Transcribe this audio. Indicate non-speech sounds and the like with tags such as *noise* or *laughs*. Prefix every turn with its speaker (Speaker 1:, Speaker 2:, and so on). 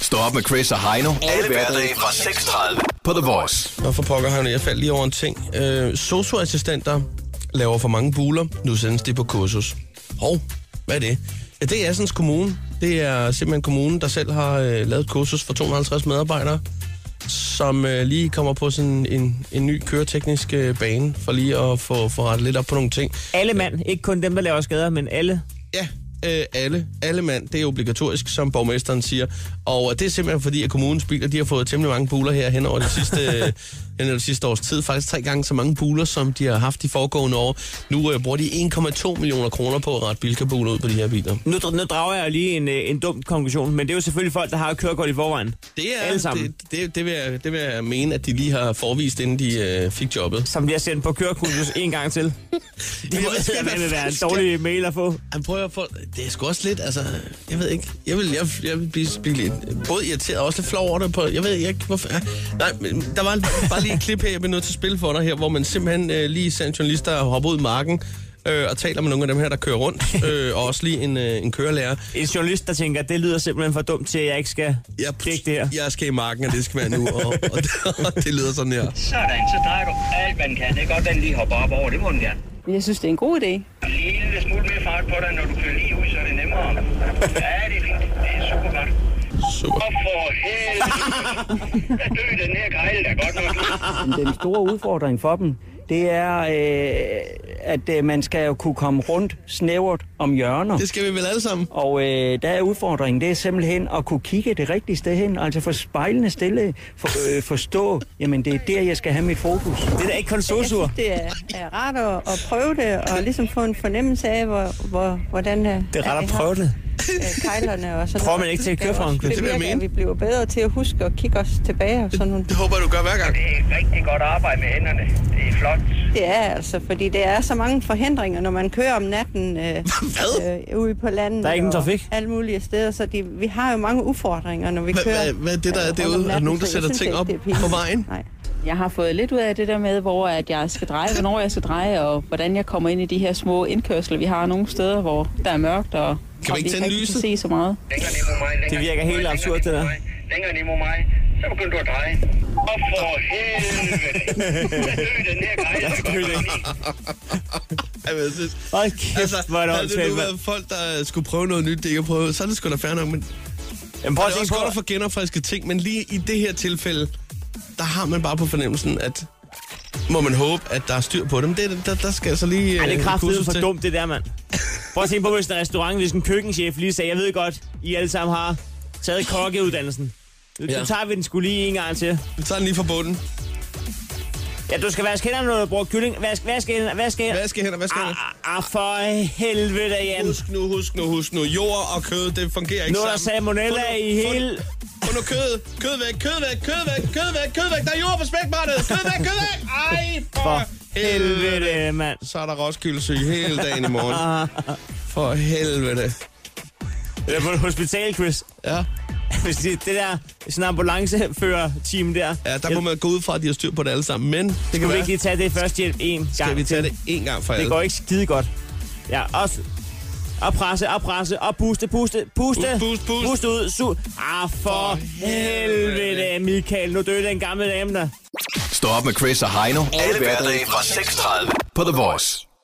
Speaker 1: Stå op med Chris og Heino. Alle hverdage fra 6.30 på The Voice.
Speaker 2: Nå for pokker, Heino, jeg faldt lige over en ting. Øh, socioassistenter laver for mange buler. Nu sendes de på kursus. Hov, hvad er det? Ja, det er Assens Kommune. Det er simpelthen kommunen, der selv har øh, lavet et kursus for 250 medarbejdere, som øh, lige kommer på sådan en, en ny køreteknisk øh, bane, for lige at få, få rettet lidt op på nogle ting.
Speaker 3: Alle mand, ikke kun dem, der laver skader, men alle.
Speaker 2: Ja, øh, alle, alle mand, det er obligatorisk, som borgmesteren siger. Og det er simpelthen fordi, at kommunens biler, de har fået temmelig mange buler her hen over de
Speaker 3: *laughs*
Speaker 2: sidste, øh, hen over de sidste års tid. Faktisk tre gange så mange buler, som de har haft de foregående år. Nu øh, bruger de 1,2 millioner kroner på at rette bilkabuler ud på de her biler.
Speaker 3: Nu, dr- nu drager jeg lige en, øh, en dum konklusion, men det er jo selvfølgelig folk, der har et kørekort i forvejen.
Speaker 2: Det, er,
Speaker 3: Alle sammen.
Speaker 2: Det, det, det, vil jeg, det vil jeg mene, at de lige har forvist, inden de øh, fik jobbet.
Speaker 3: Som bliver sendt på kørekursus en gang *laughs* til. Det må *laughs*
Speaker 2: ved ikke, hvad
Speaker 3: simpelthen være en
Speaker 2: fanden skal-
Speaker 3: dårlig mail at få.
Speaker 2: Han prøver på, det er sgu også lidt, altså, jeg ved ikke, jeg vil, jeg, jeg vil blive, blive lidt, både irriteret og også lidt flov over det på, jeg ved ikke, hvorfor, ja, nej, men der var bare lige et klip her, jeg bliver nødt til at spille for dig her, hvor man simpelthen øh, lige ser en journalist, der hopper ud i marken, øh, og taler med nogle af dem her, der kører rundt, øh, og også lige en, øh, en kørelærer.
Speaker 3: En journalist, der tænker, at det lyder simpelthen for dumt til, at jeg ikke skal
Speaker 2: Jeg,
Speaker 3: dække det her.
Speaker 2: jeg skal i marken, og det skal være nu, og, og, og *laughs* det lyder sådan her.
Speaker 4: Sådan, så drejer du alt, man kan. Det er godt, den lige hopper op over. Det må den gerne.
Speaker 5: Jeg synes, det er en god idé.
Speaker 4: Lige en lille smule mere fart på dig, når du kører lige ud, så er det nemmere. Ja, det er fint. Det er super godt.
Speaker 2: Super.
Speaker 4: Og for helvede. Hvad dø den her grejle, der godt nok.
Speaker 6: Den store udfordring for dem, det er, øh, at øh, man skal jo kunne komme rundt snævert om hjørner.
Speaker 2: Det skal vi vel alle sammen.
Speaker 6: Og øh, der er udfordringen, det er simpelthen at kunne kigge det rigtige sted hen, altså for spejlende stille, for, øh, forstå, jamen det er der, jeg skal have mit fokus.
Speaker 3: Det er da ikke kun
Speaker 5: Jeg
Speaker 3: sosuer.
Speaker 5: synes, det er, er rart at, at prøve det, og ligesom få en fornemmelse af, hvor, hvor, hvordan øh,
Speaker 3: Det er ret at
Speaker 5: vi har,
Speaker 3: prøve det.
Speaker 5: øh, kejlerne og sådan
Speaker 3: Prøver
Speaker 5: noget.
Speaker 3: man ikke til at
Speaker 5: Det er
Speaker 3: køre for en
Speaker 5: også-
Speaker 3: kø?
Speaker 5: Det
Speaker 2: Det vil jeg
Speaker 5: virker, at
Speaker 2: mene.
Speaker 5: vi bliver bedre til at huske og kigge os tilbage og sådan nogle
Speaker 2: Det håber jeg, du gør hver gang.
Speaker 4: Det er rigtig godt arbejde med hænderne. Det er flot.
Speaker 5: Det er altså, fordi det er så mange forhindringer, når man kører om natten øh,
Speaker 2: *laughs* Hvad?
Speaker 5: øh, ude på landet.
Speaker 3: Der er ingen
Speaker 5: og
Speaker 3: trafik.
Speaker 5: Alle mulige steder, så de, vi har jo mange udfordringer, når vi
Speaker 2: Hvad-
Speaker 5: kører.
Speaker 2: hvad- hvad er det, der er
Speaker 5: øh, rundt
Speaker 2: derude?
Speaker 5: om
Speaker 2: Er der
Speaker 5: natten,
Speaker 2: nogen, der
Speaker 5: så jeg
Speaker 2: sætter
Speaker 5: synes
Speaker 2: ting
Speaker 5: ikke,
Speaker 2: op
Speaker 5: det er pinligt.
Speaker 2: på vejen?
Speaker 5: Nej.
Speaker 7: Jeg har fået lidt ud af det der med, hvor at jeg skal dreje, hvornår jeg skal dreje, og hvordan jeg kommer ind i de her små indkørsler. Vi har nogle steder, hvor der er mørkt,
Speaker 2: Kan
Speaker 7: og
Speaker 2: man
Speaker 7: og
Speaker 2: ikke
Speaker 7: vi
Speaker 2: tænde
Speaker 7: rigtig
Speaker 2: lyset?
Speaker 7: se så meget.
Speaker 4: Længere ned mod mig. Længere
Speaker 3: Det virker
Speaker 4: ned mod
Speaker 3: helt
Speaker 4: mig,
Speaker 3: absurd,
Speaker 4: længere
Speaker 3: det
Speaker 4: ned mod mig, Længere ned mod mig. Så begynder du at dreje. Og
Speaker 3: *laughs*
Speaker 4: for helvede. Hvad dø den her grejle, der godt nok.
Speaker 2: Jamen, jeg synes, Altså,
Speaker 3: Hold kæft, hvor er det
Speaker 2: havde det nu
Speaker 3: åndssvagt, mand.
Speaker 2: været folk, der skulle prøve noget nyt, det ikke har prøvet, så er det sgu da fair nok, men
Speaker 3: Jamen, prøv at
Speaker 2: det er
Speaker 3: tænke
Speaker 2: også godt at
Speaker 3: på,
Speaker 2: få genopfrisket ting, men lige i det her tilfælde, der har man bare på fornemmelsen, at må man håbe, at der er styr på dem. Det, der, der skal altså lige...
Speaker 3: Ej, det er
Speaker 2: øh,
Speaker 3: kraftedeme
Speaker 2: kursus
Speaker 3: for
Speaker 2: til.
Speaker 3: dumt, det der, mand. Prøv at tænke på, hvis en restaurant, hvis en køkkenchef lige sagde, jeg ved godt, I alle sammen har taget kokkeuddannelsen. Nu
Speaker 2: Ja.
Speaker 3: ja. tager vi den skulle lige en gang til.
Speaker 2: Vi tager den lige fra bunden.
Speaker 3: Ja, du skal vaske hænderne, når du bruger kylling. Vask, vask hænderne, vask hænderne.
Speaker 2: Hvad skal hen og hvad skal hen?
Speaker 3: Ah, ah, for helvede, Jan.
Speaker 2: Husk nu, husk nu, husk nu. Jord og kød, det fungerer ikke
Speaker 3: Nu er der
Speaker 2: sammen.
Speaker 3: salmonella
Speaker 2: Få nu-
Speaker 3: i
Speaker 2: få nu-
Speaker 3: hele...
Speaker 2: Få nu kød, kød væk, kød væk, kød væk, kød væk, kød væk. Der er jord på spækbrættet. Kød væk, kød væk. Ej, for,
Speaker 3: For
Speaker 2: helvede.
Speaker 3: helvede, mand.
Speaker 2: så er der Roskildesyge hele dagen i
Speaker 3: *laughs*
Speaker 2: morgen. For helvede.
Speaker 3: Eller på et
Speaker 2: *laughs*
Speaker 3: hospital, Chris.
Speaker 2: Ja.
Speaker 3: Hvis det, det der sådan en ambulancefører-team der.
Speaker 2: ja, der må man gå ud fra, at de har styr på det alle sammen. Men det kan
Speaker 3: Skal vi
Speaker 2: være,
Speaker 3: ikke lige tage det første hjælp en gang?
Speaker 2: skal vi tage det en gang for alle.
Speaker 3: Det går ikke skide godt. Ja, også... Og presse, og presse, og puste, puste, puste.
Speaker 2: Pust, pust, pust.
Speaker 3: Pust ud, su... Ah, for helvede, Michael. Nu døde den gamle dame der.
Speaker 1: Stå op med Chris og Heino. Alle hverdage fra 6.30 på The Voice.